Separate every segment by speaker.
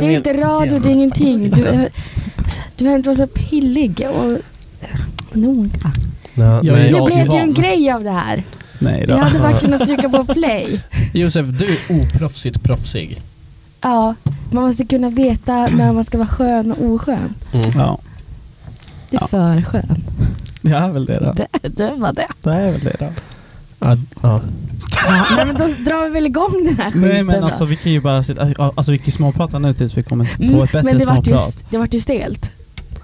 Speaker 1: Det är inte radio, det är ingenting. Du är, du är inte vara så pillig och noga.
Speaker 2: Ja,
Speaker 3: Jag
Speaker 2: nej.
Speaker 3: är
Speaker 1: Nu blev det ju en
Speaker 3: radiovan.
Speaker 1: grej av det här.
Speaker 3: Nej
Speaker 1: Jag
Speaker 3: då.
Speaker 1: hade bara kunnat trycka på play.
Speaker 3: Josef, du är oproffsigt proffsig.
Speaker 1: Ja, man måste kunna veta när man ska vara skön och oskön.
Speaker 2: Mm.
Speaker 3: Ja,
Speaker 1: Du är
Speaker 3: Ja.
Speaker 1: för skön.
Speaker 3: det är väl det då.
Speaker 1: Det, det var det.
Speaker 3: Det är väl det då.
Speaker 2: Ja, ja.
Speaker 1: Ja, nej, men då drar vi väl igång den här skiten
Speaker 3: Nej men
Speaker 1: då.
Speaker 3: alltså vi kan ju bara sitta, alltså vi kan ju småprata nu tills vi kommer
Speaker 1: Mm,
Speaker 3: på ett bättre
Speaker 1: men det vart, ju,
Speaker 3: småprat.
Speaker 1: s- det vart ju stelt.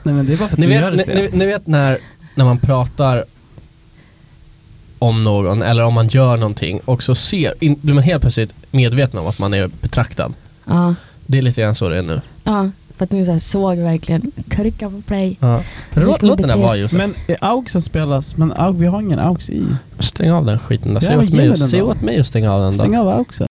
Speaker 3: Nej men det är bara för att
Speaker 2: Ni
Speaker 3: du gör
Speaker 2: vet,
Speaker 3: det
Speaker 2: ni, ni,
Speaker 3: stelt.
Speaker 2: ni vet när, när man pratar om någon eller om man gör någonting och så ser, in, blir man helt plötsligt medveten om att man är betraktad.
Speaker 1: Ja,
Speaker 2: Det är lite grann så det är nu.
Speaker 1: ja, för att nu så här såg verkligen trycka på play.
Speaker 2: Ja.
Speaker 1: Vi
Speaker 2: Låt
Speaker 1: ska
Speaker 2: låt den där
Speaker 1: bete-
Speaker 2: vara Josef.
Speaker 3: Men är augsen spelas, men aug, vi har ingen aux i.
Speaker 2: Stäng av den skiten då. Säg,
Speaker 3: Ja,
Speaker 2: åt,
Speaker 3: ge
Speaker 2: mig,
Speaker 3: mig den
Speaker 2: säg
Speaker 3: då.
Speaker 2: åt mig att stänga av den då.
Speaker 3: Stäng av auxen.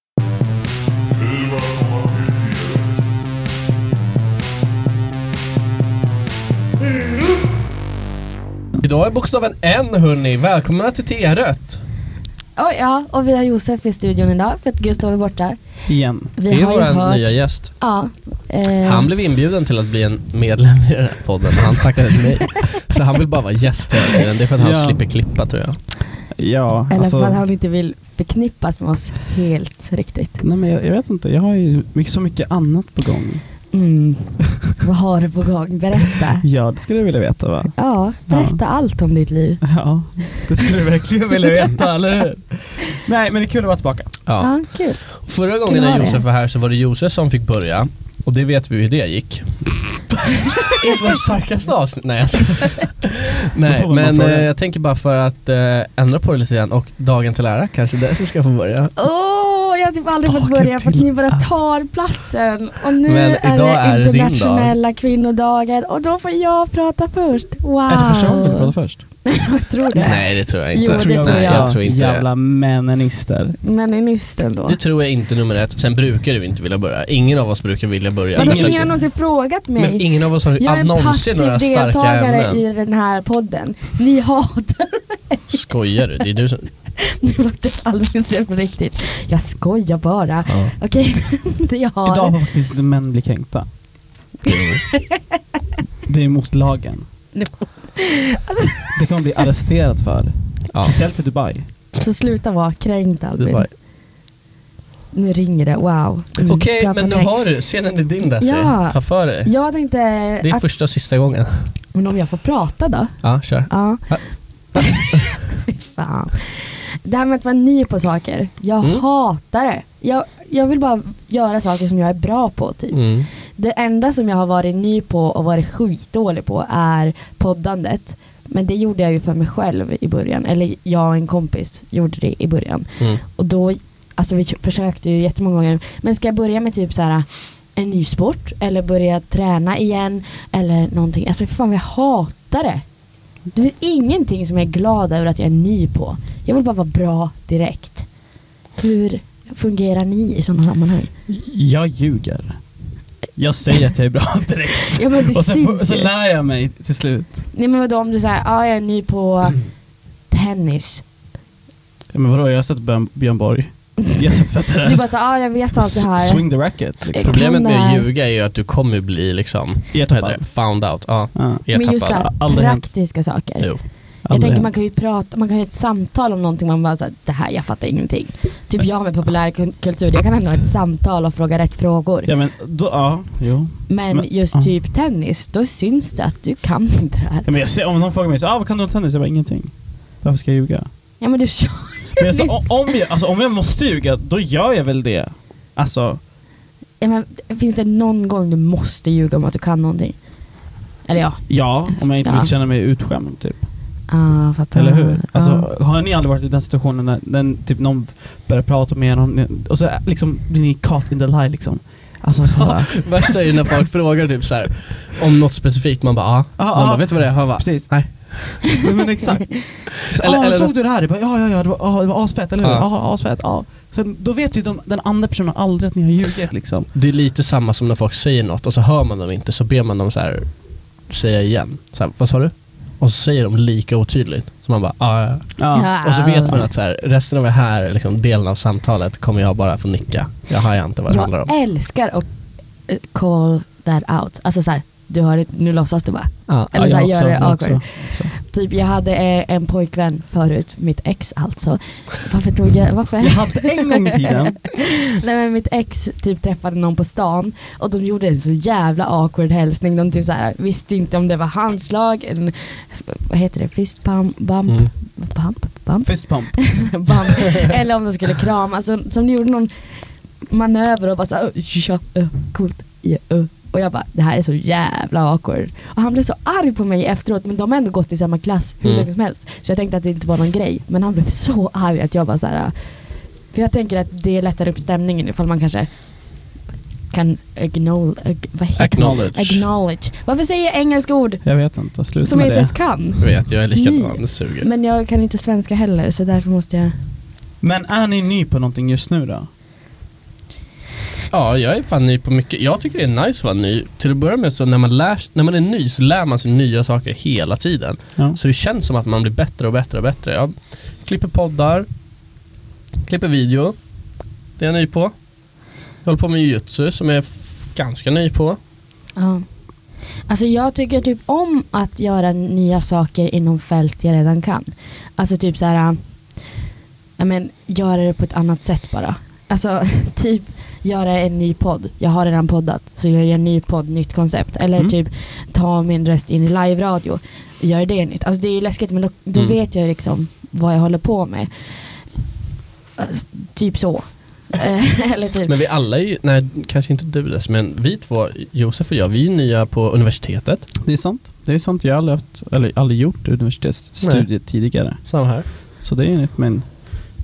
Speaker 2: Idag är bokstaven N hörni. Välkomna till T-rött.
Speaker 1: Oj, ja, och vi har Josef i studion idag för att Gustav är borta.
Speaker 3: Igen.
Speaker 1: Vi
Speaker 2: Det är
Speaker 1: har ju
Speaker 2: vår
Speaker 1: hört...
Speaker 2: nya gäst.
Speaker 1: Ja. Eh,
Speaker 2: Han blev inbjuden till att bli en medlem i den här podden men han tackade nej. Så han vill bara vara gäst hela tiden. Det är för att han
Speaker 3: Ja.
Speaker 2: slipper klippa tror jag.
Speaker 3: Ja,
Speaker 1: Eller
Speaker 3: alltså.
Speaker 1: för att han inte vill förknippas med oss helt riktigt.
Speaker 3: Nej men jag, jag vet inte, jag har ju mycket, så mycket annat på gång.
Speaker 1: Mm. Vad har du på gång? Berätta.
Speaker 3: Ja, det skulle du vilja veta va?
Speaker 1: Ja, berätta allt om ditt liv.
Speaker 3: Ja, det skulle du verkligen vilja veta, eller hur? Nej men det är kul att vara tillbaka.
Speaker 2: Ja.
Speaker 1: Ja, kul.
Speaker 2: Förra
Speaker 1: Kul
Speaker 2: gången
Speaker 1: att
Speaker 2: när
Speaker 1: ha det.
Speaker 2: Josef var här så var det Josef som fick börja. Och det vet vi hur det gick. det var det starkaste avsnitt. Nej jag skojar.
Speaker 3: Då
Speaker 2: Nej
Speaker 3: får man
Speaker 2: men
Speaker 3: fråga.
Speaker 2: eh, jag tänker bara för att eh, ändra på det lite grann och dagen till ära kanske det som ska få börja.
Speaker 1: Åh, jag har typ aldrig fått
Speaker 3: Dagen
Speaker 1: börja för att
Speaker 3: till
Speaker 1: ni bara tar platsen. Och nu
Speaker 2: Men
Speaker 1: är
Speaker 2: idag
Speaker 1: det
Speaker 2: är det din dag.
Speaker 1: internationella kvinnodagen och då får jag prata först. Wow.
Speaker 3: Är det första gången du pratar först?
Speaker 1: Jag tror det.
Speaker 2: Nej det tror jag
Speaker 1: Jo,
Speaker 2: inte.
Speaker 1: det tror jag
Speaker 2: Nej, jag
Speaker 1: också.
Speaker 2: tror inte det.
Speaker 3: Jävla meninister.
Speaker 1: Men i nyss ändå.
Speaker 2: Det tror jag inte nummer ett. Sen brukar du inte vilja börja. Ingen av oss brukar vilja börja.
Speaker 1: Vadå,
Speaker 3: ingen-
Speaker 1: ingen har någonsin frågat mig.
Speaker 2: men ingen av oss har
Speaker 1: jag är
Speaker 2: ju
Speaker 1: en
Speaker 2: någonsin några
Speaker 1: passiv
Speaker 2: starka
Speaker 1: deltagare
Speaker 2: ämnen.
Speaker 1: i den här podden. Ni hatar
Speaker 2: Skojar du? Det är du som...
Speaker 1: Nu vart det allmänt på riktigt. Jag skojar bara.
Speaker 2: Ja.
Speaker 1: Okej, det jag har.
Speaker 3: Idag får faktiskt inte män bli kränkta. Det är emot lagen. Det kommer bli arresterat för.
Speaker 2: Ja.
Speaker 3: Speciellt i Dubai.
Speaker 1: Så sluta vara kränkt
Speaker 2: Det
Speaker 1: Albin.
Speaker 2: var...
Speaker 1: Nu ringer det, wow. Mm,
Speaker 2: Okej,
Speaker 1: bra
Speaker 2: men nu
Speaker 1: påpek.
Speaker 2: har du. Scenen är din Desi.
Speaker 1: Ja.
Speaker 2: Ta för dig.
Speaker 1: Jag tänkte
Speaker 2: Det är
Speaker 1: att,
Speaker 2: första och sista gången.
Speaker 1: men om jag får prata då?
Speaker 2: Ja, kör.
Speaker 1: Ja.
Speaker 2: Ja.
Speaker 1: Fan. Det här med att vara ny på saker, jag
Speaker 2: Mm.
Speaker 1: hatar det. Jag, jag vill bara göra saker som jag är bra på typ.
Speaker 2: Mm.
Speaker 1: Det enda som jag har varit ny på och varit skitdålig på är poddandet. Men det gjorde jag ju för mig själv i början. Eller jag och en kompis gjorde det i början.
Speaker 2: Mm.
Speaker 1: Och då, alltså vi försökte ju jättemånga gånger. Men ska jag börja med typ så här en ny sport eller börja träna igen eller någonting. Alltså fan jag hatar det. Det finns ingenting som jag är glad över att jag är ny på. Jag vill bara vara bra direkt. Hur fungerar ni i sådana sammanhang?
Speaker 3: Jag ljuger. Jag säger att jag är bra direkt.
Speaker 1: Ja men det
Speaker 3: Och sen, får-
Speaker 1: syns
Speaker 3: så
Speaker 1: ju.
Speaker 3: lär jag mig till slut.
Speaker 1: Nej men vadå om du säger ja jag är ny på tennis.
Speaker 3: Ja, men vadå, jag har sett Björn, Björn Borg. Jag har sett
Speaker 1: Du
Speaker 3: fettare.
Speaker 1: bara så ja jag vet allt det här.
Speaker 3: Mm. Swing the racket liksom.
Speaker 2: Problemet
Speaker 1: Kan det
Speaker 2: med att
Speaker 1: här-
Speaker 2: ljuga är ju att du kommer bli liksom, vad heter det?
Speaker 3: Ertappad.
Speaker 2: found out. Ja,
Speaker 3: Ja,
Speaker 1: Men just
Speaker 2: ertappad.
Speaker 1: såhär
Speaker 3: Aldrig hänt.
Speaker 1: praktiska saker.
Speaker 2: Jo.
Speaker 1: Jag
Speaker 3: aldrig
Speaker 1: tänker man
Speaker 3: hänt.
Speaker 1: kan ju prata, man kan ju ha ett samtal om någonting man bara såhär, det här jag fattar ingenting. Typ jag med populärkultur, jag kan ändå ha ett samtal och fråga rätt frågor.
Speaker 3: Ja men då, ja, jo.
Speaker 1: Men
Speaker 3: men-
Speaker 1: just
Speaker 3: ja.
Speaker 1: typ tennis, då syns det att du kan inte det här.
Speaker 3: Ja, men jag ser, om någon frågar mig så, ah, vad kan du om tennis? Jag bara, ingenting. Varför ska jag ljuga?
Speaker 1: Ja men du sa
Speaker 3: Men jag sa, o- om, jag, alltså, om jag måste ljuga, då gör jag väl det. Alltså,
Speaker 1: ja, men, Finns det någon gång du måste ljuga om att du kan någonting? Eller ja,
Speaker 3: ja, om jag inte
Speaker 1: Ja.
Speaker 3: vill känna mig utskämd typ.
Speaker 1: ah, fattar.
Speaker 3: Eller hur? Alltså,
Speaker 1: Ja.
Speaker 3: Har ni aldrig varit i den situationen när den, typ, någon börjar prata med er någon, och så liksom, blir ni caught in the lie liksom? Alltså såhär.
Speaker 2: Värsta är ju när folk frågar typ så här, om något specifikt, man bara ja.
Speaker 3: Ja,
Speaker 2: Man bara,
Speaker 3: ja.
Speaker 2: vet du vad det är? Han bara,
Speaker 3: Precis.
Speaker 2: Nej.
Speaker 3: Men, men exakt. Så,
Speaker 2: Eller-
Speaker 3: ah,
Speaker 2: eller-
Speaker 3: såg du det här? Jag Bara, ja, ja, ja, det var, ah, det var asfett, eller hur?
Speaker 2: Ja.
Speaker 3: Ja, ah, asfett. Ah. Sen, då vet ju de, den andra personen aldrig att ni har ljugit liksom.
Speaker 2: Det är lite samma som när folk säger något och så hör man dem inte så ber man dem så här, säga igen. Så här, vad sa du? Och så säger de lika otydligt. Så man bara, "Ah, "Ja, ja.
Speaker 1: Ja.
Speaker 2: ja." Och så vet man att så här, resten av det här liksom, delen av samtalet kommer jag bara få nicka. Jag hajar inte vad det handlar om.
Speaker 1: Jag älskar att eh, call that out. Alltså såhär, du har det, nu låtsas du bara.
Speaker 3: Ja,
Speaker 1: Eller
Speaker 3: ja,
Speaker 1: så här,
Speaker 3: jag
Speaker 1: gör det
Speaker 3: jag
Speaker 1: awkward. Typ jag hade eh, en pojkvän förut, mitt ex alltså. Varför tog jag, varför?
Speaker 3: Jag hade en gång i tiden,
Speaker 1: Nej men mitt ex typ träffade någon på stan och de gjorde en så jävla awkward hälsning. De typ så här, visste inte om det var handslag, en, vad heter det, fist pump, bump,
Speaker 2: Mm.
Speaker 1: bump, bump,
Speaker 3: fist pump.
Speaker 1: bump. Eller om de skulle krama. Alltså, som de gjorde någon manöver och bara såhär, ja, ö, coolt, ja, ö. Och jag bara, det här är så jävla awkward. Och han blev så arg på mig efteråt men de har ändå gått i samma klass hur
Speaker 2: Mm.
Speaker 1: länge som helst. Så jag tänkte att det inte var någon grej. Men han blev så arg att jag bara såhär, för jag tänker att det lättar upp stämningen ifall man kanske kan acknowledge, ag- vad heter
Speaker 2: Acknowledge.
Speaker 1: det? acknowledge. Varför säger jag engelska ord
Speaker 3: Jag vet inte, sluta
Speaker 1: som jag
Speaker 3: med
Speaker 1: inte
Speaker 3: det.
Speaker 1: ens kan?
Speaker 2: Jag vet, jag är likadan.
Speaker 1: Nej.
Speaker 2: Det suger.
Speaker 1: Men jag kan inte svenska heller så därför måste jag
Speaker 3: Men är ni ny på någonting just nu då?
Speaker 2: Ja, jag är fan ny på mycket. Jag tycker det är nice att vara ny. Till att börja med så när man, lär, när man är ny så lär man sig nya saker hela tiden.
Speaker 3: Ja.
Speaker 2: Så det känns som att man blir bättre och bättre och bättre. Jag klipper poddar, klipper video. Det är jag ny på. Jag håller på med jujutsu som jag är f- ganska ny på.
Speaker 1: Ja. Alltså jag tycker typ om att göra nya saker inom fält jag redan kan. Alltså typ så här, ja men göra det på ett annat sätt bara. Alltså typ göra en ny podd. Jag har redan poddat så jag gör en ny podd, nytt koncept. Eller
Speaker 3: Mm.
Speaker 1: typ ta min röst in i live-radio, göra det nytt. Alltså det är ju läskigt men då, då
Speaker 2: Mm.
Speaker 1: vet jag liksom vad jag håller på med. Alltså, typ så. Eh, Eller typ.
Speaker 2: Men vi alla är ju, nej kanske inte du dess, men vi två, Josef och jag, vi är nya på universitetet.
Speaker 3: Det är sant. Det är sant. Jag har aldrig, haft, eller aldrig gjort universitetsstudier tidigare.
Speaker 2: Samma här.
Speaker 3: Så det är enligt min...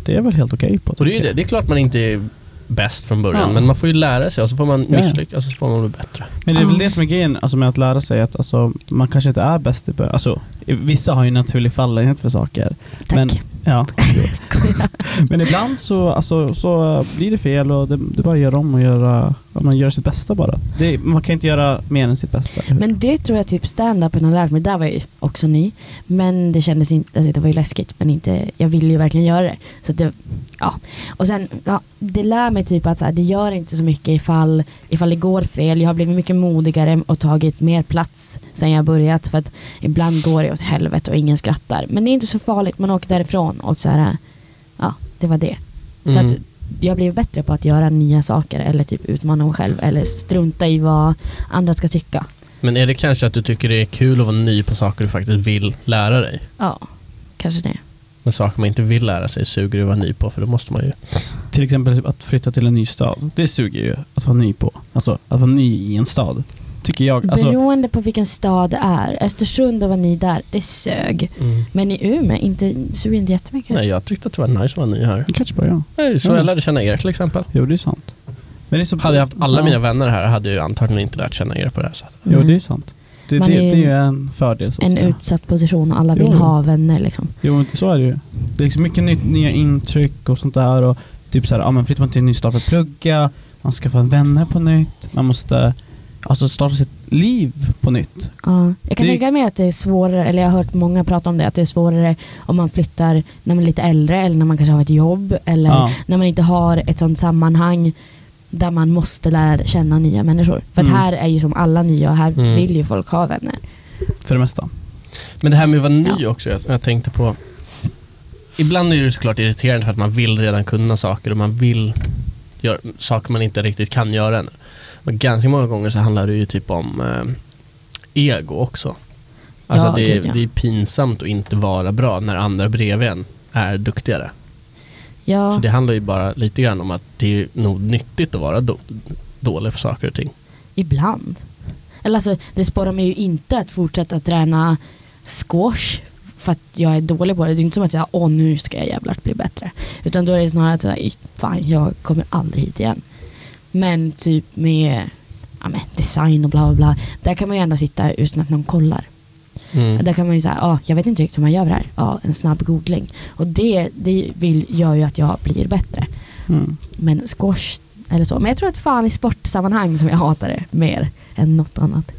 Speaker 3: Det är väl helt okej på typ.
Speaker 2: Och det är ju det, det är klart man inte är bäst från början,
Speaker 3: Ja.
Speaker 2: men man får ju lära sig och så får man
Speaker 3: Ja.
Speaker 2: misslyckas och så får man bli bättre.
Speaker 3: Men det är väl
Speaker 1: Ja.
Speaker 3: det som är grejen alltså med att lära sig att alltså, man kanske inte är bäst i början. Alltså, vissa har ju en naturlig fallenhet för saker.
Speaker 1: Tack.
Speaker 3: Men, ja.
Speaker 1: Jag skojar.
Speaker 3: men ibland så, alltså, så blir det fel och det, det är bara att göra om och göra, ja, man gör sitt bästa bara. Det, man kan inte göra mer än sitt bästa. eller hur?
Speaker 1: Men det tror jag typ stand-upen har lärt mig. Där var jag ju också ny. Men det kändes inte, alltså det var ju läskigt. Men inte, jag ville ju verkligen göra det. Så att det, ja. Och sen, ja, det lär mig typ att så här, det gör inte så mycket ifall, ifall det går fel. Jag har blivit mycket modigare och tagit mer plats sen jag börjat. För att ibland går det åt helvete och ingen skrattar. Men det är inte så farligt, man åker därifrån och så här, ja, det var det. Så
Speaker 2: Mm.
Speaker 1: att jag blir bättre på att göra nya saker eller typ utmana mig själv eller strunta i vad andra ska tycka.
Speaker 2: Men är det kanske att du tycker det är kul att vara ny på saker du faktiskt vill lära dig?
Speaker 1: Ja, kanske det.
Speaker 2: Men saker man inte vill lära sig suger det att vara ny på för då måste man ju...
Speaker 3: Till exempel att flytta till en ny stad. Det suger ju att vara ny på. Alltså att vara ny i en stad. Tycker jag. Alltså,
Speaker 1: Beroende på vilken stad det är. Östersund och var ny där, det sög.
Speaker 2: Mm.
Speaker 1: Men i Umeå, inte, suger inte jättemycket.
Speaker 2: Nej, jag tyckte att det var nice att vara ny här.
Speaker 3: kanske bara jag.
Speaker 2: Nej, Så
Speaker 3: Mm.
Speaker 2: jag lärde känna er till exempel.
Speaker 3: Jo, det är sant. Men det är så,
Speaker 2: Hade jag haft alla
Speaker 3: Ja.
Speaker 2: mina vänner här hade jag ju antagligen inte lärt känna er på det här sättet.
Speaker 3: Jo, det är
Speaker 1: Mm.
Speaker 3: sant. Det, det,
Speaker 1: Man
Speaker 3: det
Speaker 1: är ju
Speaker 3: är ju en fördel. Så att
Speaker 1: En
Speaker 3: säga.
Speaker 1: utsatt position och alla vill
Speaker 3: Jo.
Speaker 1: ha vänner liksom.
Speaker 3: Jo, men så är det ju. Det är liksom mycket nytt, nya intryck och sånt där. Och typ så här, ja, men flyttar man till en ny stad för att plugga, man skaffar vänner på nytt, man måste alltså starta sitt liv på nytt.
Speaker 1: Ja. Jag kan
Speaker 3: Det-
Speaker 1: tänka mig att det är svårare, eller jag har hört många prata om det, att det är svårare om man flyttar när man är lite äldre eller när man kanske har ett jobb eller
Speaker 3: Ja.
Speaker 1: när man inte har ett sånt sammanhang där man måste lära känna nya människor. För att
Speaker 3: Mm.
Speaker 1: här är ju som alla nya och här
Speaker 2: Mm.
Speaker 1: vill ju folk ha vänner.
Speaker 3: För det mesta.
Speaker 2: Men det här med att vara ny också, jag, jag tänkte på... Ibland är det ju såklart irriterande för att man vill redan kunna saker och man vill göra saker man inte riktigt kan göra ännu. Men ganska många gånger så handlar det ju typ om eh, ego också. Alltså
Speaker 1: Ja,
Speaker 2: att det,
Speaker 1: gud,
Speaker 2: är,
Speaker 1: ja.
Speaker 2: det är pinsamt att inte vara bra när andra bredvid en är duktigare.
Speaker 1: Ja.
Speaker 2: Så det handlar ju bara lite grann om att det är nog nyttigt att vara då, dålig på saker och ting.
Speaker 1: Ibland. Eller alltså, det sporrar mig ju inte att fortsätta träna squash för att jag är dålig på det. Det är inte som att jag, åh nu ska jag jävlar bli bättre. Utan då är det snarare att sådär, fan jag kommer aldrig hit igen. Men typ med ja, men design och bla bla bla. Där kan man ju ändå sitta utan att någon kollar.
Speaker 2: Mm.
Speaker 1: Där kan man ju säga, ah, jag vet inte riktigt hur man gör det här. Ja, en snabb googling. Och det, det vill, gör ju att jag blir bättre.
Speaker 3: Mm.
Speaker 1: Men squash eller så. Men jag tror att fan i sportsammanhang som jag hatar det mer än något annat.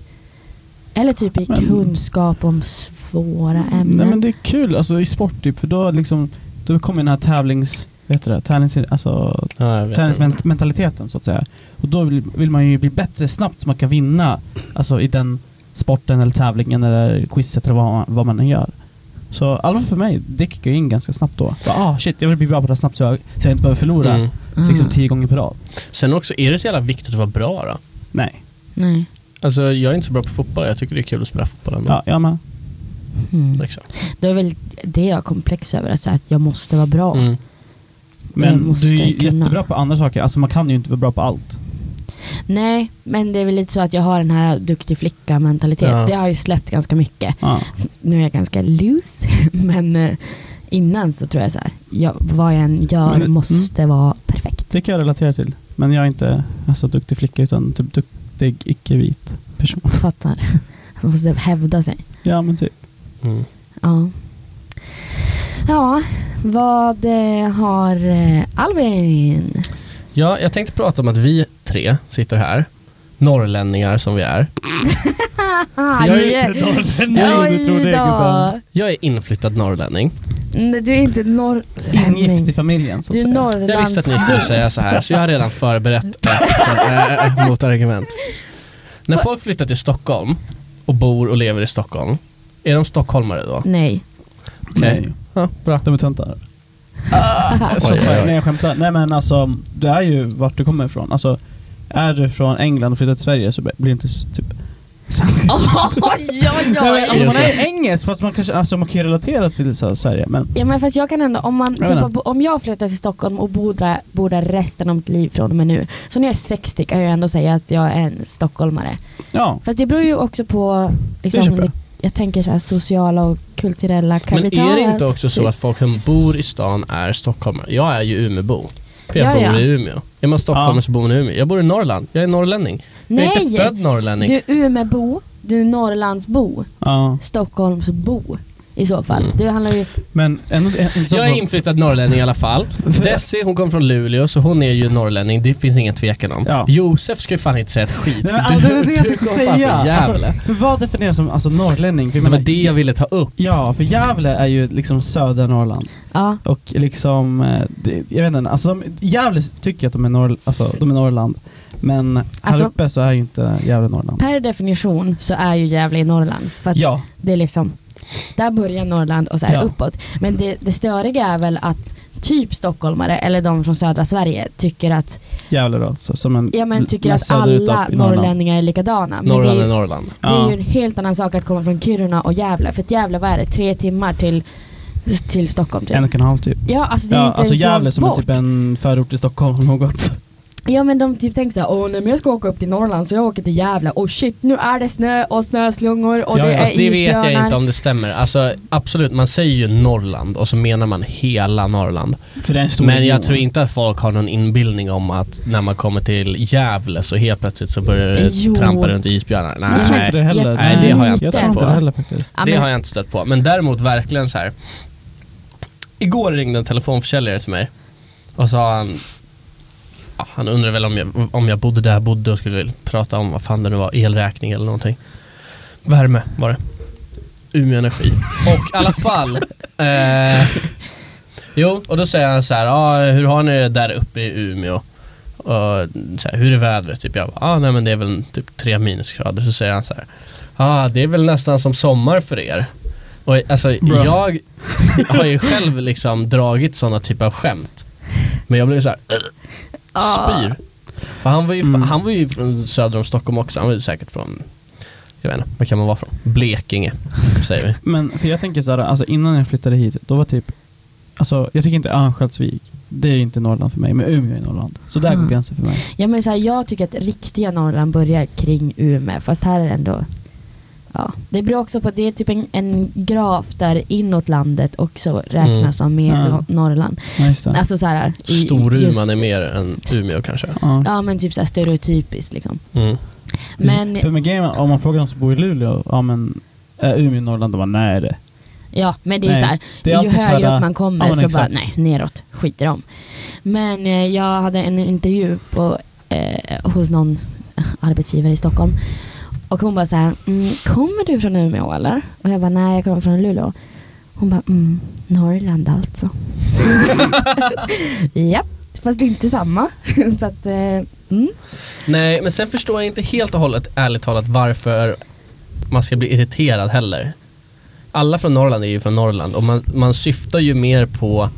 Speaker 1: Eller typ i
Speaker 3: Men-
Speaker 1: kunskap om svåra ämnen.
Speaker 3: Nej men det är kul, alltså i sport typ, för då liksom, då kommer den här tävlings... vad heter det, tränings, alltså,
Speaker 2: Ja, jag vet det.
Speaker 3: träningsmentaliteten så att säga. Och då vill, vill man ju bli bättre snabbt så man kan vinna alltså, i den sporten eller tävlingen eller quizet eller vad man, vad man än gör. Så i alla fall för mig, det kickar ju in ganska snabbt då. Bara, ah shit, jag vill bli bra på det här snabbt så jag, så jag inte behöver förlora
Speaker 2: Mm.
Speaker 1: Ah,
Speaker 3: liksom tio gånger per rad.
Speaker 2: Sen också, är det så jävla viktigt att vara bra då?
Speaker 3: Nej.
Speaker 1: Nej.
Speaker 2: Alltså jag är inte så bra på fotboll, jag tycker det är kul att spela fotboll ändå.
Speaker 3: Ja, jag med.
Speaker 1: Mm.
Speaker 2: Liksom.
Speaker 1: Det är väl det jag är komplex över, att, säga att jag måste vara bra.
Speaker 2: Mm.
Speaker 1: Jag
Speaker 3: Men
Speaker 1: måste
Speaker 3: du är
Speaker 1: kunna.
Speaker 3: jättebra på andra saker. Alltså man kan ju inte vara bra på allt.
Speaker 1: Nej, men det är väl lite så att jag har den här duktig flicka-mentalitet.
Speaker 2: Ja.
Speaker 1: Det har ju släppt ganska mycket.
Speaker 3: Ja.
Speaker 1: Nu är jag ganska loose, men eh, innan så tror jag så här, jag, vad jag än gör
Speaker 3: Men- mm.
Speaker 1: måste vara perfekt.
Speaker 3: Det kan jag relatera till. Men jag är inte alltså, duktig flicka utan typ duktig icke-vit person.
Speaker 1: Fattar. Man måste hävda sig.
Speaker 3: Ja men typ.
Speaker 2: Mm.
Speaker 1: Ja. Ja, vad eh, har eh, Alvin?
Speaker 2: Ja, jag tänkte prata om att vi tre sitter här, norrlänningar som vi är.
Speaker 1: Ah,
Speaker 2: Jag är
Speaker 1: yeah.
Speaker 2: inte norrlänning.
Speaker 3: du tror det,
Speaker 1: Oj då.
Speaker 3: gubben.
Speaker 2: Jag är inflyttad norrlänning.
Speaker 1: Nej, Du är inte
Speaker 3: Ingift i
Speaker 1: norrlänning.
Speaker 3: familjen så att
Speaker 1: Du är
Speaker 3: säga.
Speaker 2: Jag visste att
Speaker 1: norrlands...
Speaker 2: ni skulle säga så här, så jag har redan förberett ett äh, motargument. När folk flyttar till Stockholm och bor och lever i Stockholm, är de stockholmare då?
Speaker 1: Nej.
Speaker 3: Nej,
Speaker 2: Ja, bra.
Speaker 3: de är töntar.
Speaker 1: Ah.
Speaker 3: Jag
Speaker 2: Oj, oj,
Speaker 3: skojar.
Speaker 2: oj.
Speaker 3: Nej jag skämtar. Nej men alltså, du är ju vart du kommer ifrån. Alltså, är du från England och flyttar till Sverige så blir du inte s- typ...
Speaker 1: Oj, oj,
Speaker 3: Nej, men, alltså,
Speaker 1: oj.
Speaker 3: man är ju engelsk fast man, kanske, alltså, man kan ju relatera till så här, Sverige. Men
Speaker 1: Ja men fast jag kan ändå, om, man,
Speaker 3: Jag
Speaker 1: typ,
Speaker 3: menar.
Speaker 1: bo- om jag flyttar till Stockholm och bor där, bor där resten av mitt liv från och med nu. Så när jag är 60 kan jag ändå säga att jag är en stockholmare.
Speaker 3: ja,
Speaker 1: Fast det beror ju också på, liksom,
Speaker 3: köper jag.
Speaker 1: det, jag tänker så här, sociala och kulturella
Speaker 2: Men
Speaker 1: kapital.
Speaker 2: är det inte också så
Speaker 1: typ.
Speaker 2: att folk som bor i stan är stockholmare? Jag är ju Umebo. För jag
Speaker 1: Ja, ja.
Speaker 2: bor i Umeå. Är man stockholmare
Speaker 3: Ja.
Speaker 2: så bor man i Umeå. Jag bor i Norrland. Jag är norrlänning.
Speaker 1: Nej!
Speaker 2: Jag är inte född norrlänning.
Speaker 1: Du är Umeåbo, du är Norrlandsbo,
Speaker 3: ja.
Speaker 1: Stockholmsbo i så fall.
Speaker 2: Mm.
Speaker 1: Det handlar ju...
Speaker 3: Men ändå, det är intressant
Speaker 2: Jag är
Speaker 3: att-
Speaker 2: inflyttad norrlänning i alla fall. Desi, hon kommer från Luleå, så hon är ju norrlänning. Det finns ingen tvekan om.
Speaker 3: Ja.
Speaker 2: Josef ska ju fan inte säga ett skit. för
Speaker 3: Nej, men, alltså, det är det jag
Speaker 2: du
Speaker 3: tänkte
Speaker 2: kom fan
Speaker 3: säga.
Speaker 2: från Gävle.
Speaker 3: Alltså, för vad definieras som alltså, norrlänning? För jag
Speaker 2: det var
Speaker 3: menar-
Speaker 2: det jag ville ta upp.
Speaker 3: Ja, för Gävle är ju liksom södra Norrland.
Speaker 1: Ja.
Speaker 3: Och liksom, eh, det, jag vet inte, alltså de, Gävle tycker jag att de är, norr, alltså, de är Norrland. Men
Speaker 1: Alltså-
Speaker 3: här uppe så är ju inte Gävle Norrland.
Speaker 1: Per definition så är ju Gävle i Norrland. För att
Speaker 3: Ja,
Speaker 1: Det är liksom, där börjar Norrland och så är det
Speaker 3: Ja.
Speaker 1: uppåt. Men det, det störiga är väl att typ stockholmare eller de från södra Sverige tycker att,
Speaker 3: Gävle då. Så, som en,
Speaker 1: ja, men tycker
Speaker 3: men
Speaker 1: att
Speaker 3: söderut upp
Speaker 1: alla
Speaker 3: i Norrland.
Speaker 1: norrlänningar är likadana. Men
Speaker 2: Norrland
Speaker 1: det,
Speaker 2: är
Speaker 1: är, ju-
Speaker 2: Norrland.
Speaker 1: det är ju
Speaker 3: Ja.
Speaker 1: en helt annan sak att komma från Kiruna och Gävle. För att Gävle, vad är det? Tre timmar till, till Stockholm typ.
Speaker 3: En och en halv typ.
Speaker 1: Ja, alltså det är ju
Speaker 3: Ja,
Speaker 1: inte
Speaker 3: alltså
Speaker 1: ens
Speaker 3: Gävle
Speaker 1: långt
Speaker 3: som är
Speaker 1: bort.
Speaker 3: typ en förort till Stockholm eller något.
Speaker 1: Ja men de typ tänkte såhär, åh nej men jag ska åka upp till Norrland så jag åker till Gävle och shit nu är det snö och snöslungor och
Speaker 2: Ja,
Speaker 1: det är
Speaker 2: alltså, det vet jag
Speaker 1: isbjörnar."
Speaker 2: inte om det stämmer. Alltså, absolut, man säger ju Norrland och så menar man hela Norrland.
Speaker 3: För det är en stor
Speaker 2: Men jag
Speaker 3: region.
Speaker 2: tror inte att folk har någon inbildning om att när man kommer till Gävle så helt plötsligt så börjar det
Speaker 1: Jo.
Speaker 2: trampa runt isbjörnar. Nej.
Speaker 3: Jag tror inte det heller.
Speaker 2: Nej, det har jag inte
Speaker 1: Lite.
Speaker 3: Jag
Speaker 2: stött
Speaker 3: tror
Speaker 2: på.
Speaker 3: inte det heller faktiskt.
Speaker 1: Ja,
Speaker 2: Det
Speaker 1: men-
Speaker 2: har jag inte stött på. Men däremot verkligen så här. Igår ringde en telefonförsäljare till mig och sa han ja, han undrade väl om jag, om jag bodde där jag bodde och skulle prata om vad fan det nu var, elräkning eller någonting. Värme var det. Umeå Energi. Och i alla fall. Eh, jo, och då säger han så här, ah, hur har ni det där uppe i Umeå? Och, så här, hur är vädret? Typ jag bara, ah, nej men det är väl typ tre minusgrader. Så säger han så här, ah, det är väl nästan som sommar för er. Och alltså
Speaker 3: Bra.
Speaker 2: jag har ju själv liksom dragit sådana typer av skämt. Men jag blev så här,
Speaker 1: Ah.
Speaker 2: spyr. För han var, ju,
Speaker 3: Mm.
Speaker 2: han var ju från söder om Stockholm också, han var ju säkert från, jag vet inte, var kan man vara från? Blekinge, säger vi.
Speaker 3: Men för jag tänker såhär, alltså innan jag flyttade hit, då var typ Alltså jag tycker inte Örnsköldsvik, det är ju inte Norrland för mig, men Umeå är Norrland. Så där
Speaker 1: Mm.
Speaker 3: går gränsen för mig.
Speaker 1: Ja men så här, jag tycker att riktiga Norrland börjar kring Umeå, fast här är det ändå... Ja. Det beror också på, det är typ en, en graf där inåt landet också räknas
Speaker 2: Mm.
Speaker 1: som mer
Speaker 3: Ja.
Speaker 1: lo- Norrland.
Speaker 3: Ja, just det.
Speaker 1: Alltså så här, i- i- just-
Speaker 2: Storuman är mer än Umeå kanske.
Speaker 3: ja.
Speaker 1: Ja men typ så här stereotypiskt liksom.
Speaker 2: Mm.
Speaker 1: Men
Speaker 3: För med grejen, om man frågar någon som bor i Luleå, ja men är Umeå Norrland? De bara nej det.
Speaker 1: ja, men det är ju
Speaker 3: Nej,
Speaker 1: så här,
Speaker 3: det är
Speaker 1: ju
Speaker 3: alltid så
Speaker 1: högre
Speaker 3: här,
Speaker 1: upp man kommer
Speaker 3: ja, men
Speaker 1: så bara
Speaker 3: exakt.
Speaker 1: nej, neråt, skiter om. Men eh, jag hade en intervju på, eh, hos någon arbetsgivare i Stockholm och hon bara så här, mm, kommer du från Umeå eller? Och jag bara nej, jag kommer från Luleå. Hon bara, mm, Norrland alltså. ja, fast det är inte samma. så att, eh, mm.
Speaker 2: Nej, men sen förstår jag inte helt och hållet, ärligt talat, varför man ska bli irriterad heller. Alla från Norrland är ju från Norrland och man, man syftar ju mer på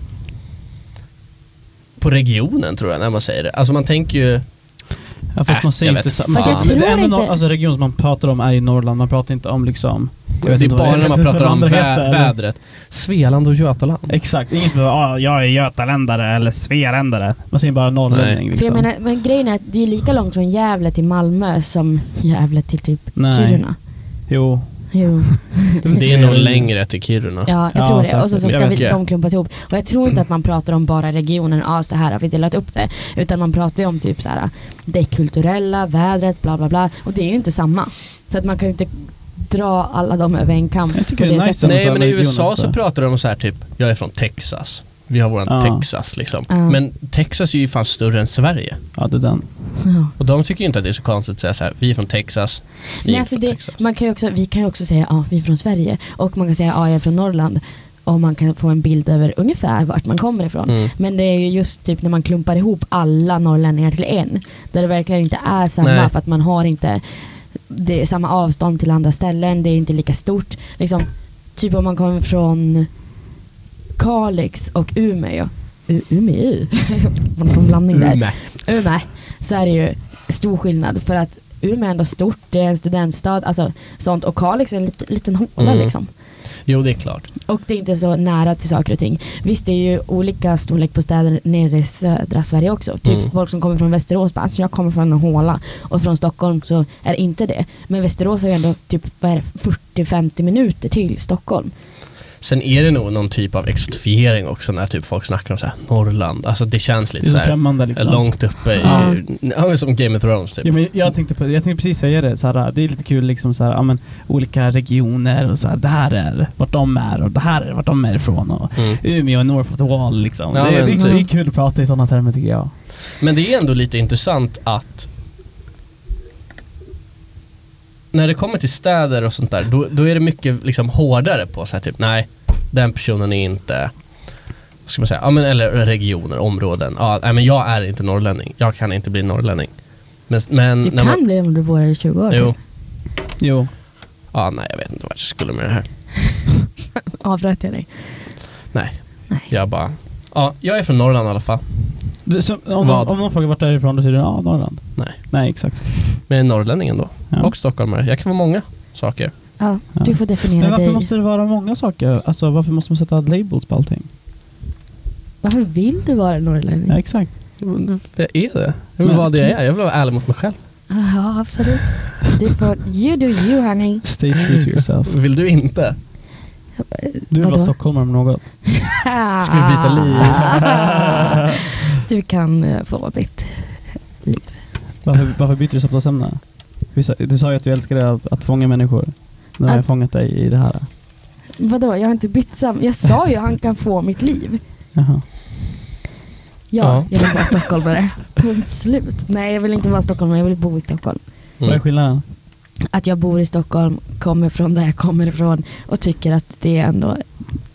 Speaker 2: på regionen tror jag när man säger det. Alltså man tänker ju,
Speaker 3: Ja, fast
Speaker 2: Äh,
Speaker 3: man säger
Speaker 2: jag
Speaker 3: inte
Speaker 2: vet.
Speaker 3: så.
Speaker 2: Fast
Speaker 3: man-
Speaker 2: jag
Speaker 3: men det
Speaker 1: tror
Speaker 3: enda
Speaker 1: inte-
Speaker 3: Nor- alltså region som man pratar om är ju Norrland, man pratar inte om liksom... jag vet
Speaker 2: det är
Speaker 3: inte vad-
Speaker 2: bara
Speaker 3: jag
Speaker 2: när
Speaker 3: vet
Speaker 2: man
Speaker 3: inte
Speaker 2: pratar
Speaker 3: vad
Speaker 2: om
Speaker 3: de andra
Speaker 2: vä-
Speaker 3: heter, eller-
Speaker 2: vädret. Svealand och Götaland.
Speaker 3: Exakt, inget med ah, jag är götaländare eller svealändare. Man säger bara norrlänning
Speaker 1: För jag
Speaker 3: liksom.
Speaker 1: menar, men grejen är att det är ju lika långt från Gävle till Malmö som Gävle till typ
Speaker 3: Nej.
Speaker 1: Kiruna.
Speaker 3: Jo.
Speaker 1: Jo.
Speaker 2: Det är nog längre till Kiruna.
Speaker 1: Ja, jag
Speaker 3: Ja,
Speaker 1: tror det.
Speaker 3: säkert.
Speaker 1: Och så, så
Speaker 2: Jag
Speaker 1: ska
Speaker 2: vet
Speaker 1: vi,
Speaker 2: inte.
Speaker 1: de klumpas ihop. Och jag tror inte att man pratar om bara regionen, ja så här har vi delat upp det. Utan man pratar ju om typ så här, det kulturella, vädret, bla bla bla. Och det är ju inte samma. Så att man kan ju inte dra alla dem över en kam.
Speaker 3: Jag tycker
Speaker 1: på
Speaker 3: det är nice
Speaker 1: sättet.
Speaker 3: ändå.
Speaker 2: Nej men i
Speaker 3: regionen
Speaker 2: USA
Speaker 3: inte.
Speaker 2: så pratar de så här typ, jag är från Texas. Vi har våran
Speaker 3: Ja.
Speaker 2: Texas liksom.
Speaker 1: Ja.
Speaker 2: Men Texas är ju fan större än Sverige.
Speaker 3: Ja, det är den.
Speaker 1: Ja.
Speaker 2: Och de tycker ju inte att det är så konstigt att säga så här, vi är från Texas, ni
Speaker 1: Nej,
Speaker 2: är
Speaker 1: alltså
Speaker 2: från
Speaker 1: det,
Speaker 2: Texas.
Speaker 1: man kan ju också, vi kan ju också säga ja, vi är från Sverige. Och man kan säga ja, jag är från Norrland. Och man kan få en bild över ungefär vart man kommer ifrån.
Speaker 2: Mm.
Speaker 1: Men det är ju just typ när man klumpar ihop alla norrlänningar till en. Där det verkligen inte är samma
Speaker 2: Nej.
Speaker 1: för att man har inte det är samma avstånd till andra ställen. Det är inte lika stort. Liksom, typ om man kommer från Kalix och Umeå. U- Umeå? Någon blandning där.
Speaker 2: Umeå.
Speaker 1: Umeå så är det ju stor skillnad för att Umeå är ändå stort, det är en studentstad, alltså sånt. Och Kalix är en lit, liten håla
Speaker 2: Mm.
Speaker 1: liksom.
Speaker 2: Jo det är klart.
Speaker 1: Och det är inte så nära till saker och ting. Visst det är ju olika storlek på städer nere i södra Sverige också. Typ
Speaker 2: Mm.
Speaker 1: folk som kommer från Västerås, bara, alltså jag kommer från en håla. Och från Stockholm så är det inte det. Men Västerås har ju ändå typ vad är det, 40-50 minuter till Stockholm.
Speaker 2: Sen är det nog någon typ av exotifiering också när typ folk snackar om så här, Norrland. Alltså det känns
Speaker 3: Det
Speaker 2: lite
Speaker 3: är så
Speaker 2: så här, eh,
Speaker 3: främmande liksom.
Speaker 2: långt uppe i,
Speaker 1: Ja.
Speaker 2: ja. men som Game of Thrones typ.
Speaker 3: Ja, men jag, tänkte på, jag tänkte precis säga det, så här, det är lite kul liksom så här, ja, men, olika regioner och så här, det här är vart de är och det här är vart de är ifrån och
Speaker 2: Mm.
Speaker 3: Umeå är north of the wall liksom.
Speaker 2: Ja,
Speaker 3: det, är- det,
Speaker 2: men
Speaker 3: är- det är
Speaker 1: typ.
Speaker 3: kul att prata i sådana termer tycker jag.
Speaker 2: Men det är ändå lite intressant att när det kommer till städer och sånt där, då, då är det mycket liksom hårdare på så här typ, nej, den personen är inte, vad ska man säga, ja, men, eller regioner, områden. Ja, nej, men jag är inte norrlänning, jag kan inte bli norrlänning. Men, Mm, men
Speaker 1: Du
Speaker 2: när
Speaker 1: kan bli om du bor här i 20 år.
Speaker 2: jo,
Speaker 1: typ.
Speaker 3: Jo.
Speaker 2: ja, nej, jag vet inte vart jag skulle med det här.
Speaker 1: Avbröt jag dig?
Speaker 2: Nej,
Speaker 1: Nej.
Speaker 2: jag bara, ja, jag är från Norrland i alla fall,
Speaker 3: Du, så, om,
Speaker 2: Vad?
Speaker 3: någon, om någon frågar vart är du ifrån, då säger du ja, Norrland.
Speaker 2: Nej.
Speaker 3: Nej, exakt.
Speaker 2: men jag är norrlänning ändå.
Speaker 3: Ja.
Speaker 2: Och stockholmare. Jag kan vara många saker.
Speaker 1: Ja, du får definiera
Speaker 3: Men varför
Speaker 1: dig.
Speaker 3: måste det vara många saker? Alltså varför måste man sätta labels på allting?
Speaker 1: Varför vill du vara
Speaker 2: Mm.
Speaker 1: norrlänning?
Speaker 3: Ja, exakt.
Speaker 2: Jag är det. Jag vill
Speaker 3: Men-
Speaker 2: vara det jag är. Jag vill vara ärlig mot mig själv.
Speaker 1: Ja, absolut. Du får, you do you honey.
Speaker 3: Stay true to yourself.
Speaker 2: Vill du inte?
Speaker 3: Du är
Speaker 1: Vadå?
Speaker 3: bara stockholmare om något.
Speaker 2: Ska vi byta liv?
Speaker 1: Du kan eh, få vara mitt.
Speaker 3: Varför, varför byter du samtalsämne? Vi sa- Du sa ju att du älskade att, att fånga människor. Nu har jag
Speaker 1: Att-
Speaker 3: fångat dig i det här.
Speaker 1: Vadå, jag har inte bytt sam... Jag sa ju han kan få mitt liv.
Speaker 3: Jaha.
Speaker 1: Ja,
Speaker 2: Ja.
Speaker 1: jag vill vara stockholmare. Punkt slut. Nej, jag vill inte vara stockholmare, jag vill bo i Stockholm.
Speaker 3: Vad är
Speaker 2: Mm.
Speaker 3: skillnaden?
Speaker 1: Att jag bor i Stockholm, kommer från där jag kommer ifrån och tycker att det är ändå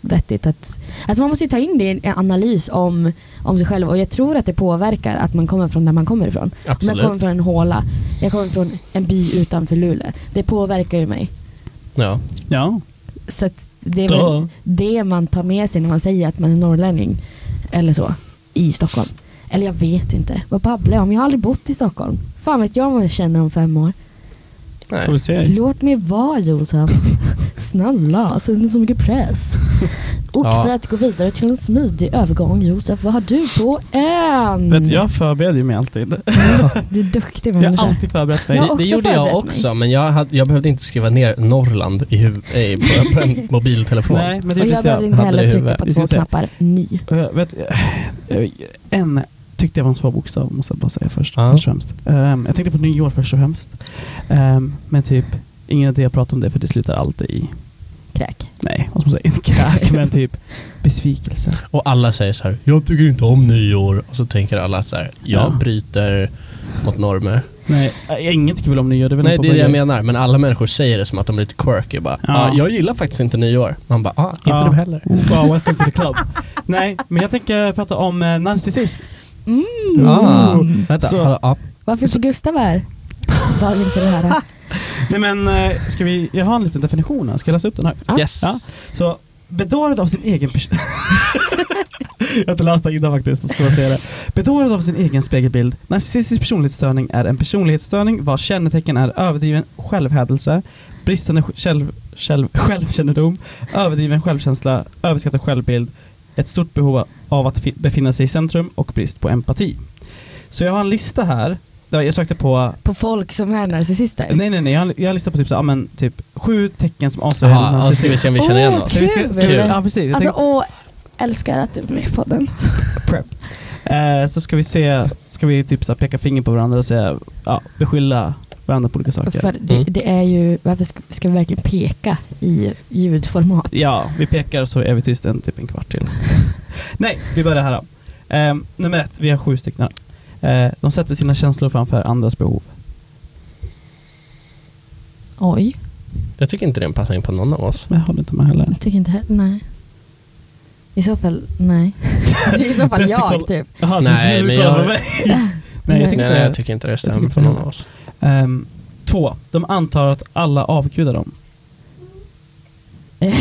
Speaker 1: vettigt att... Alltså man måste ju ta in det i en analys om, om sig själv och jag tror att det påverkar att man kommer från där man kommer ifrån. Om jag kommer
Speaker 2: Absolut.
Speaker 1: från en håla, jag kommer från en by utanför Luleå. Det påverkar ju mig.
Speaker 2: Ja.
Speaker 3: Ja.
Speaker 1: Så att det är väl
Speaker 3: Då.
Speaker 1: det man tar med sig när man säger att man är norrlänning eller så i Stockholm. Eller jag vet inte. Vad babblar jag om? Jag har aldrig bott i Stockholm. Fan vet jag vad jag känner om fem år.
Speaker 2: Nej.
Speaker 3: Får vi se.
Speaker 1: Låt mig vara Josef. Snälla, sätt inte så mycket press. Och
Speaker 2: Ja.
Speaker 1: för att gå vidare till en smidig övergång Josef, vad har du på en?
Speaker 3: Vet du, jag förbereder ju mig alltid.
Speaker 1: Mm. Du är duktig
Speaker 3: Jag
Speaker 1: människa.
Speaker 3: har alltid förberett
Speaker 1: Jag har
Speaker 3: mig.
Speaker 2: det, det
Speaker 1: också
Speaker 2: gjorde jag
Speaker 1: förberett mig.
Speaker 2: också, men jag, hade, jag behövde inte skriva ner Norrland i huv- eh, på, på en mobiltelefon.
Speaker 3: Nej, men det
Speaker 1: Och jag
Speaker 3: är lite
Speaker 1: behövde
Speaker 3: jag.
Speaker 1: inte
Speaker 2: hade det
Speaker 1: heller
Speaker 2: i
Speaker 1: trycka
Speaker 2: huvudet.
Speaker 1: på
Speaker 3: Vi
Speaker 1: två
Speaker 3: ska se.
Speaker 1: knappar. Ni.
Speaker 3: Och jag vet, eh, en tyckte jag var en svår bokstav, måste jag bara säga först.
Speaker 2: Ja.
Speaker 3: först och främst. Ehm, jag tänkte på nyår först och främst. Ehm, men typ, ingen idé att prata om det för det slutar alltid i,
Speaker 1: Kräk.
Speaker 3: nej, vad ska man säga, inte kräk, men typ besvikelse.
Speaker 2: Och alla säger så här, jag tycker inte om nyår. Och så tänker alla att så här, jag
Speaker 3: Ja.
Speaker 2: bryter mot normer.
Speaker 3: Nej, jag är inget kul om ni gör det. väl
Speaker 2: Nej,
Speaker 3: på
Speaker 2: det är det
Speaker 3: början.
Speaker 2: jag menar. Men alla människor säger det som att de är lite quirky. Bara,
Speaker 3: Ja.
Speaker 2: ah, jag gillar faktiskt inte nyår. Man bara, ah, inte
Speaker 3: Ja.
Speaker 2: du heller.
Speaker 3: Wow, welcome to the club. Nej, men jag tänker prata om eh, narcissism.
Speaker 1: Mm.
Speaker 2: Ah, vänta,
Speaker 3: Så-
Speaker 2: hallå, ah.
Speaker 1: Varför är så Gustav här? Vad vill inte det här?
Speaker 3: Nej men, eh, ska vi, jag har en liten definition här. Ska jag läsa upp den här?
Speaker 1: Ja.
Speaker 2: Yes.
Speaker 3: Ja. Så, bedårad av sin egen person... jag har inte läst det innan faktiskt, ska jag säga det. Bedårad av sin egen spegelbild. Narcissistisk personlighetsstörning är en personlighetsstörning vars kännetecken är överdriven självhädelse, bristande sj- själv, själv, självkännedom, överdriven självkänsla, överskattad självbild, ett stort behov av att fi- befinna sig i centrum och brist på empati. Så jag har en lista här, där jag sökte på
Speaker 1: På folk som är narcissister?
Speaker 3: Nej nej nej, jag har, jag har listat på typ, så, ja, men, typ sju tecken som avslöjar
Speaker 2: Jaha, ja, så ska vi se om vi känner igen
Speaker 1: Åh,
Speaker 2: oss.
Speaker 3: Så vi ska,
Speaker 1: Kul.
Speaker 3: så, ja precis, jag
Speaker 1: Alltså,
Speaker 3: tänkte
Speaker 1: åh, älskar att du är med på den.
Speaker 3: prepped. Eh, så ska vi se, ska vi typ så här, peka finger på varandra och säga, ja, beskylla varandra på olika saker.
Speaker 1: För det,
Speaker 2: Mm.
Speaker 1: det är ju, varför ska, ska vi verkligen peka i ljudformat?
Speaker 3: Ja, vi pekar så är vi tyst en typ en kvart till. nej, vi börjar här då. Eh, nummer ett, vi har sju stycken här. Eh, de sätter sina känslor framför andras behov.
Speaker 1: Oj,
Speaker 2: Jag tycker inte den passar in på någon av oss.
Speaker 3: Men jag håller inte med heller.
Speaker 1: jag tycker inte heller, nej. I så fall, nej. Det är i så fall jag
Speaker 3: Dessikol-
Speaker 1: typ.
Speaker 3: Jaha, du-
Speaker 2: Nej,
Speaker 3: du
Speaker 2: men
Speaker 3: kollar
Speaker 2: jag-
Speaker 3: på mig. nej, jag
Speaker 2: Nej,
Speaker 1: Nej.
Speaker 3: tycker inte
Speaker 2: nej, jag
Speaker 3: det.
Speaker 2: tycker inte det
Speaker 3: tycker
Speaker 2: stämmer
Speaker 3: inte
Speaker 2: på någon
Speaker 3: det.
Speaker 2: av oss.
Speaker 3: Ehm, två, de antar att alla avgudar dem.
Speaker 1: jag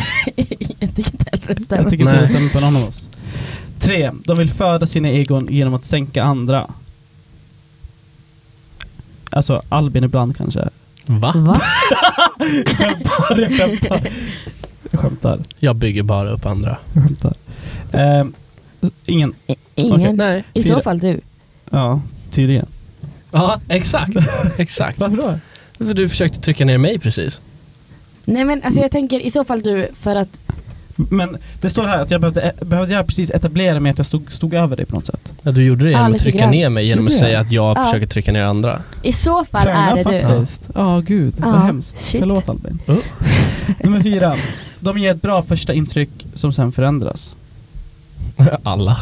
Speaker 1: tycker inte heller det
Speaker 3: Jag
Speaker 1: stämmer.
Speaker 3: tycker inte
Speaker 2: Nej.
Speaker 3: det stämmer på någon av oss. Tre, de vill föda sina egon genom att sänka andra. Alltså Albin ibland kanske.
Speaker 2: Va?
Speaker 1: Va?
Speaker 3: Skämtar, jag skämtar. Jag skämtar.
Speaker 2: Jag bygger bara upp andra.
Speaker 3: Jag skämtar. Ehm, ingen.
Speaker 1: I- Ingen?
Speaker 3: Okej.
Speaker 2: Nej.
Speaker 1: I så
Speaker 3: fyra.
Speaker 1: fall du.
Speaker 3: Ja, tydligen.
Speaker 2: Ja, exakt. exakt.
Speaker 3: Varför då?
Speaker 2: För du försökte trycka ner mig precis.
Speaker 1: Nej men alltså jag tänker i så fall du för att,
Speaker 3: Men det står här att jag behövde, behövde jag precis etablera mig att jag stod, stod över dig på något sätt.
Speaker 2: Ja, du gjorde det genom
Speaker 1: Ja,
Speaker 2: att
Speaker 1: lite
Speaker 2: trycka
Speaker 1: grann.
Speaker 2: ner mig genom att
Speaker 3: Gjorde
Speaker 2: säga att jag
Speaker 1: Ja.
Speaker 2: försöker trycka ner andra.
Speaker 1: i så fall
Speaker 3: Fair
Speaker 1: är det
Speaker 3: enough,
Speaker 1: du.
Speaker 3: faktiskt. Ja, gud
Speaker 1: Ja,
Speaker 3: vad hemskt.
Speaker 1: shit.
Speaker 3: Förlåt Albin.
Speaker 2: Uh.
Speaker 3: Nummer fyra. De ger ett bra första intryck som sen förändras.
Speaker 2: Alla.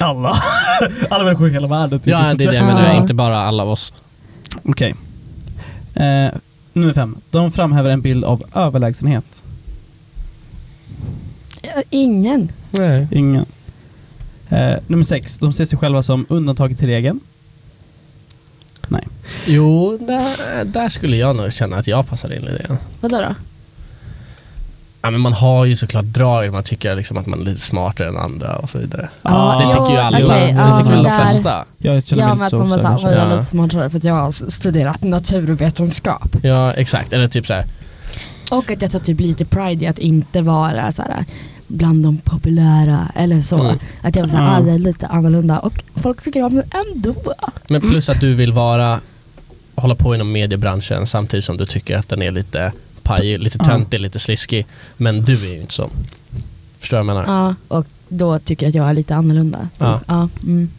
Speaker 3: Alla. Alla människor i hela världen. typ, i
Speaker 2: Ja,
Speaker 3: stort
Speaker 2: det är det
Speaker 3: sett.
Speaker 2: jag menar.
Speaker 1: Ja.
Speaker 2: Inte bara alla av oss.
Speaker 3: Okej. Eh, nummer fem. De framhäver en bild av överlägsenhet.
Speaker 1: Ja, Ingen.
Speaker 2: Nej.
Speaker 3: Ingen. Eh, nummer sex. De ser sig själva som undantaget till regeln. Nej.
Speaker 2: Jo, där, där skulle jag nog känna att jag passar in lite grann.
Speaker 1: Vadå då?
Speaker 2: Ja, men man har ju såklart drag, man tycker liksom att man är lite smartare än andra och så vidare.
Speaker 3: Ah,
Speaker 2: Det tycker ju
Speaker 1: ja,
Speaker 2: alla.
Speaker 1: okej,
Speaker 2: det
Speaker 1: ja,
Speaker 2: tycker väl de
Speaker 1: där-
Speaker 2: flesta.
Speaker 3: Jag känner
Speaker 1: Ja
Speaker 3: mig
Speaker 1: men
Speaker 3: lite
Speaker 1: att
Speaker 3: så
Speaker 1: man bara
Speaker 3: också,
Speaker 1: såhär,
Speaker 3: kanske.
Speaker 1: "Oj, jag är
Speaker 2: Ja.
Speaker 1: lite smartare för att jag har studerat naturvetenskap.
Speaker 2: Ja, exakt. Eller typ så här.
Speaker 1: Och att jag tar typ lite pride i att inte vara såhär bland de populära eller så.
Speaker 2: Mm.
Speaker 1: Att jag var såhär,
Speaker 3: Ja.
Speaker 1: ah, jag är lite annorlunda och folk tycker om mig ändå.
Speaker 2: Men plus att du vill vara, hålla på inom mediebranschen samtidigt som du tycker att den är lite pajig, lite
Speaker 3: Ja.
Speaker 2: töntig, lite sliskig. Men du är ju inte så. Förstår du vad jag menar?
Speaker 1: Ja, och då tycker jag att jag är lite annorlunda.
Speaker 2: Ja.
Speaker 1: Ja, mm.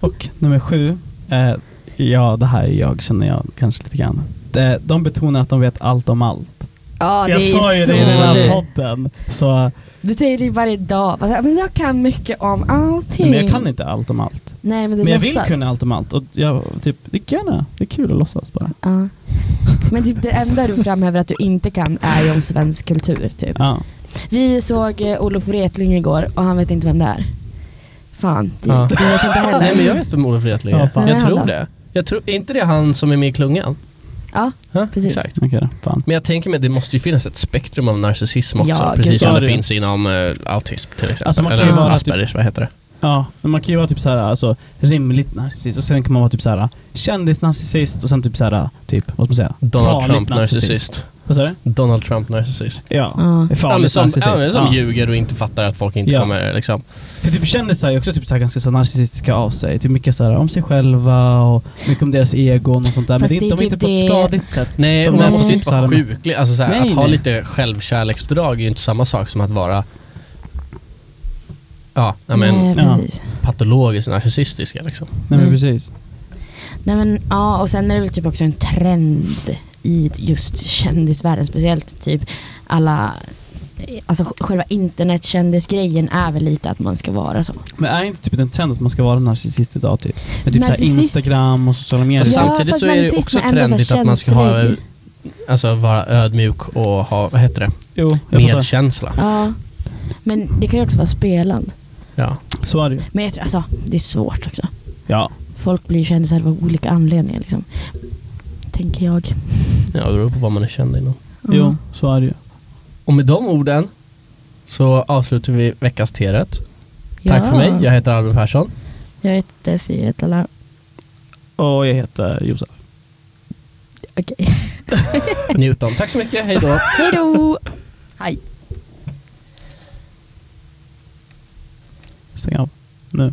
Speaker 3: Och nummer sju. Eh, ja, det här är jag känner jag kanske lite grann. De, de betonar att de vet allt om allt.
Speaker 1: ja det
Speaker 3: jag
Speaker 1: är
Speaker 3: sa ju
Speaker 1: så
Speaker 3: det i den här
Speaker 1: du.
Speaker 3: podden. Så,
Speaker 1: Du säger det varje dag. Bara så här, Men jag kan mycket om allting.
Speaker 3: men jag kan inte allt om allt.
Speaker 1: Nej men du
Speaker 3: Men jag
Speaker 1: låtsas.
Speaker 3: vill kunna allt om allt och jag typ, det kan jag göra. Det är kul att låtsas bara.
Speaker 1: Ja. Men typ det enda du framhäver att du inte kan är ju om svensk kultur. Typ.
Speaker 3: Ja.
Speaker 1: Vi såg eh, Olof Wretling igår och han vet inte vem det är. Fan, det,
Speaker 2: Ja.
Speaker 1: det vet jag inte heller.
Speaker 2: Nej men jag vet vem Olof Wretling
Speaker 3: Ja,
Speaker 2: är.
Speaker 3: fan.
Speaker 2: jag
Speaker 1: Ja,
Speaker 2: tror
Speaker 1: han då.
Speaker 2: det. Jag tror, är inte det han som är med i klungan?
Speaker 1: Ja,
Speaker 2: Ja,
Speaker 1: Precis.
Speaker 2: Exakt.
Speaker 3: Okej då, fan.
Speaker 2: Men jag tänker mig att det måste ju finnas ett spektrum av narcissism också.
Speaker 1: Ja, gud,
Speaker 2: precis som
Speaker 3: ja,
Speaker 2: det
Speaker 3: det.
Speaker 2: finns inom eh, autism till exempel.
Speaker 3: Alltså, man kan
Speaker 2: Eller
Speaker 1: ju vara
Speaker 3: typ-
Speaker 2: Aspergers, vad heter det?
Speaker 3: Ja, men man kan ju vara typ såhär, alltså rimligt narcissist och sen kan man vara typ såhär kändisnarcissist och sen typ såhär, typ, vad ska man säga?
Speaker 2: Donald
Speaker 3: Farligt
Speaker 2: Trump-narcissist.
Speaker 3: Vad sa du?
Speaker 2: Donald Trump-narcissist.
Speaker 3: Ja,
Speaker 1: Ja.
Speaker 2: Ja, men
Speaker 3: farligt
Speaker 2: som,
Speaker 3: narcissist.
Speaker 2: ja, men som
Speaker 3: Ja.
Speaker 2: ljuger och inte fattar att folk inte
Speaker 3: Ja.
Speaker 2: kommer liksom.
Speaker 3: För typ kändisar är också typ såhär ganska så här narcissistiska av sig. Typ mycket såhär om sig själva och mycket om deras egon och sånt där.
Speaker 1: Fast
Speaker 3: men det, är
Speaker 1: det är
Speaker 3: inte- de är inte
Speaker 1: typ
Speaker 3: på ett
Speaker 1: det-
Speaker 3: skadligt sätt.
Speaker 2: Nej,
Speaker 3: Som
Speaker 2: och man
Speaker 1: de-
Speaker 2: måste ju inte vara
Speaker 3: Nej.
Speaker 2: sjuklig. Alltså, så här,
Speaker 3: Nej,
Speaker 2: att ha
Speaker 3: nej.
Speaker 2: lite självkärleksdrag är ju inte samma sak som att vara ja, ja, men,
Speaker 1: Nej,
Speaker 3: ja.
Speaker 1: precis.
Speaker 2: patologiskt narcissistiska. Liksom.
Speaker 3: Nej men
Speaker 1: Mm.
Speaker 3: precis.
Speaker 1: Nej, men, ja, och sen är det väl typ också en trend i just kändisvärlden. Speciellt typ alla alltså själva internetkändisgrejen är väl lite att man ska vara så.
Speaker 3: Men är inte typ en trend att man ska vara narcissist idag? Typ, med typ såhär
Speaker 1: Narcissist-
Speaker 3: Instagram och sociala medier.
Speaker 2: Fast
Speaker 1: Ja,
Speaker 2: samtidigt
Speaker 1: fast
Speaker 2: så är det
Speaker 1: narcissism
Speaker 2: också
Speaker 1: är ändå så
Speaker 2: trendigt att man ska ha,
Speaker 1: känslig.
Speaker 2: alltså vara ödmjuk och ha, vad heter det,
Speaker 3: Jo, jag fattar.
Speaker 2: medkänsla.
Speaker 1: Ja. Men det kan ju också vara spelande.
Speaker 2: Ja.
Speaker 3: Så är det ju.
Speaker 1: Men jag tror, alltså, det är svårt också.
Speaker 3: Ja.
Speaker 1: Folk blir ju kändisar av olika anledningar liksom. Tänker jag.
Speaker 2: ja, det beror på vad man är känd inom.
Speaker 1: Mm.
Speaker 3: Jo, så är det ju.
Speaker 2: Och med de orden så avslutar vi veckans T-rätt.
Speaker 1: Ja.
Speaker 2: Tack för mig, jag heter Albin Persson.
Speaker 1: Jag heter Desi Etala.
Speaker 3: Och jag heter Josef.
Speaker 1: Okej.
Speaker 2: Newton. Tack så mycket, hej då.
Speaker 1: Hej då! Hej.
Speaker 3: Stäng av. Nu.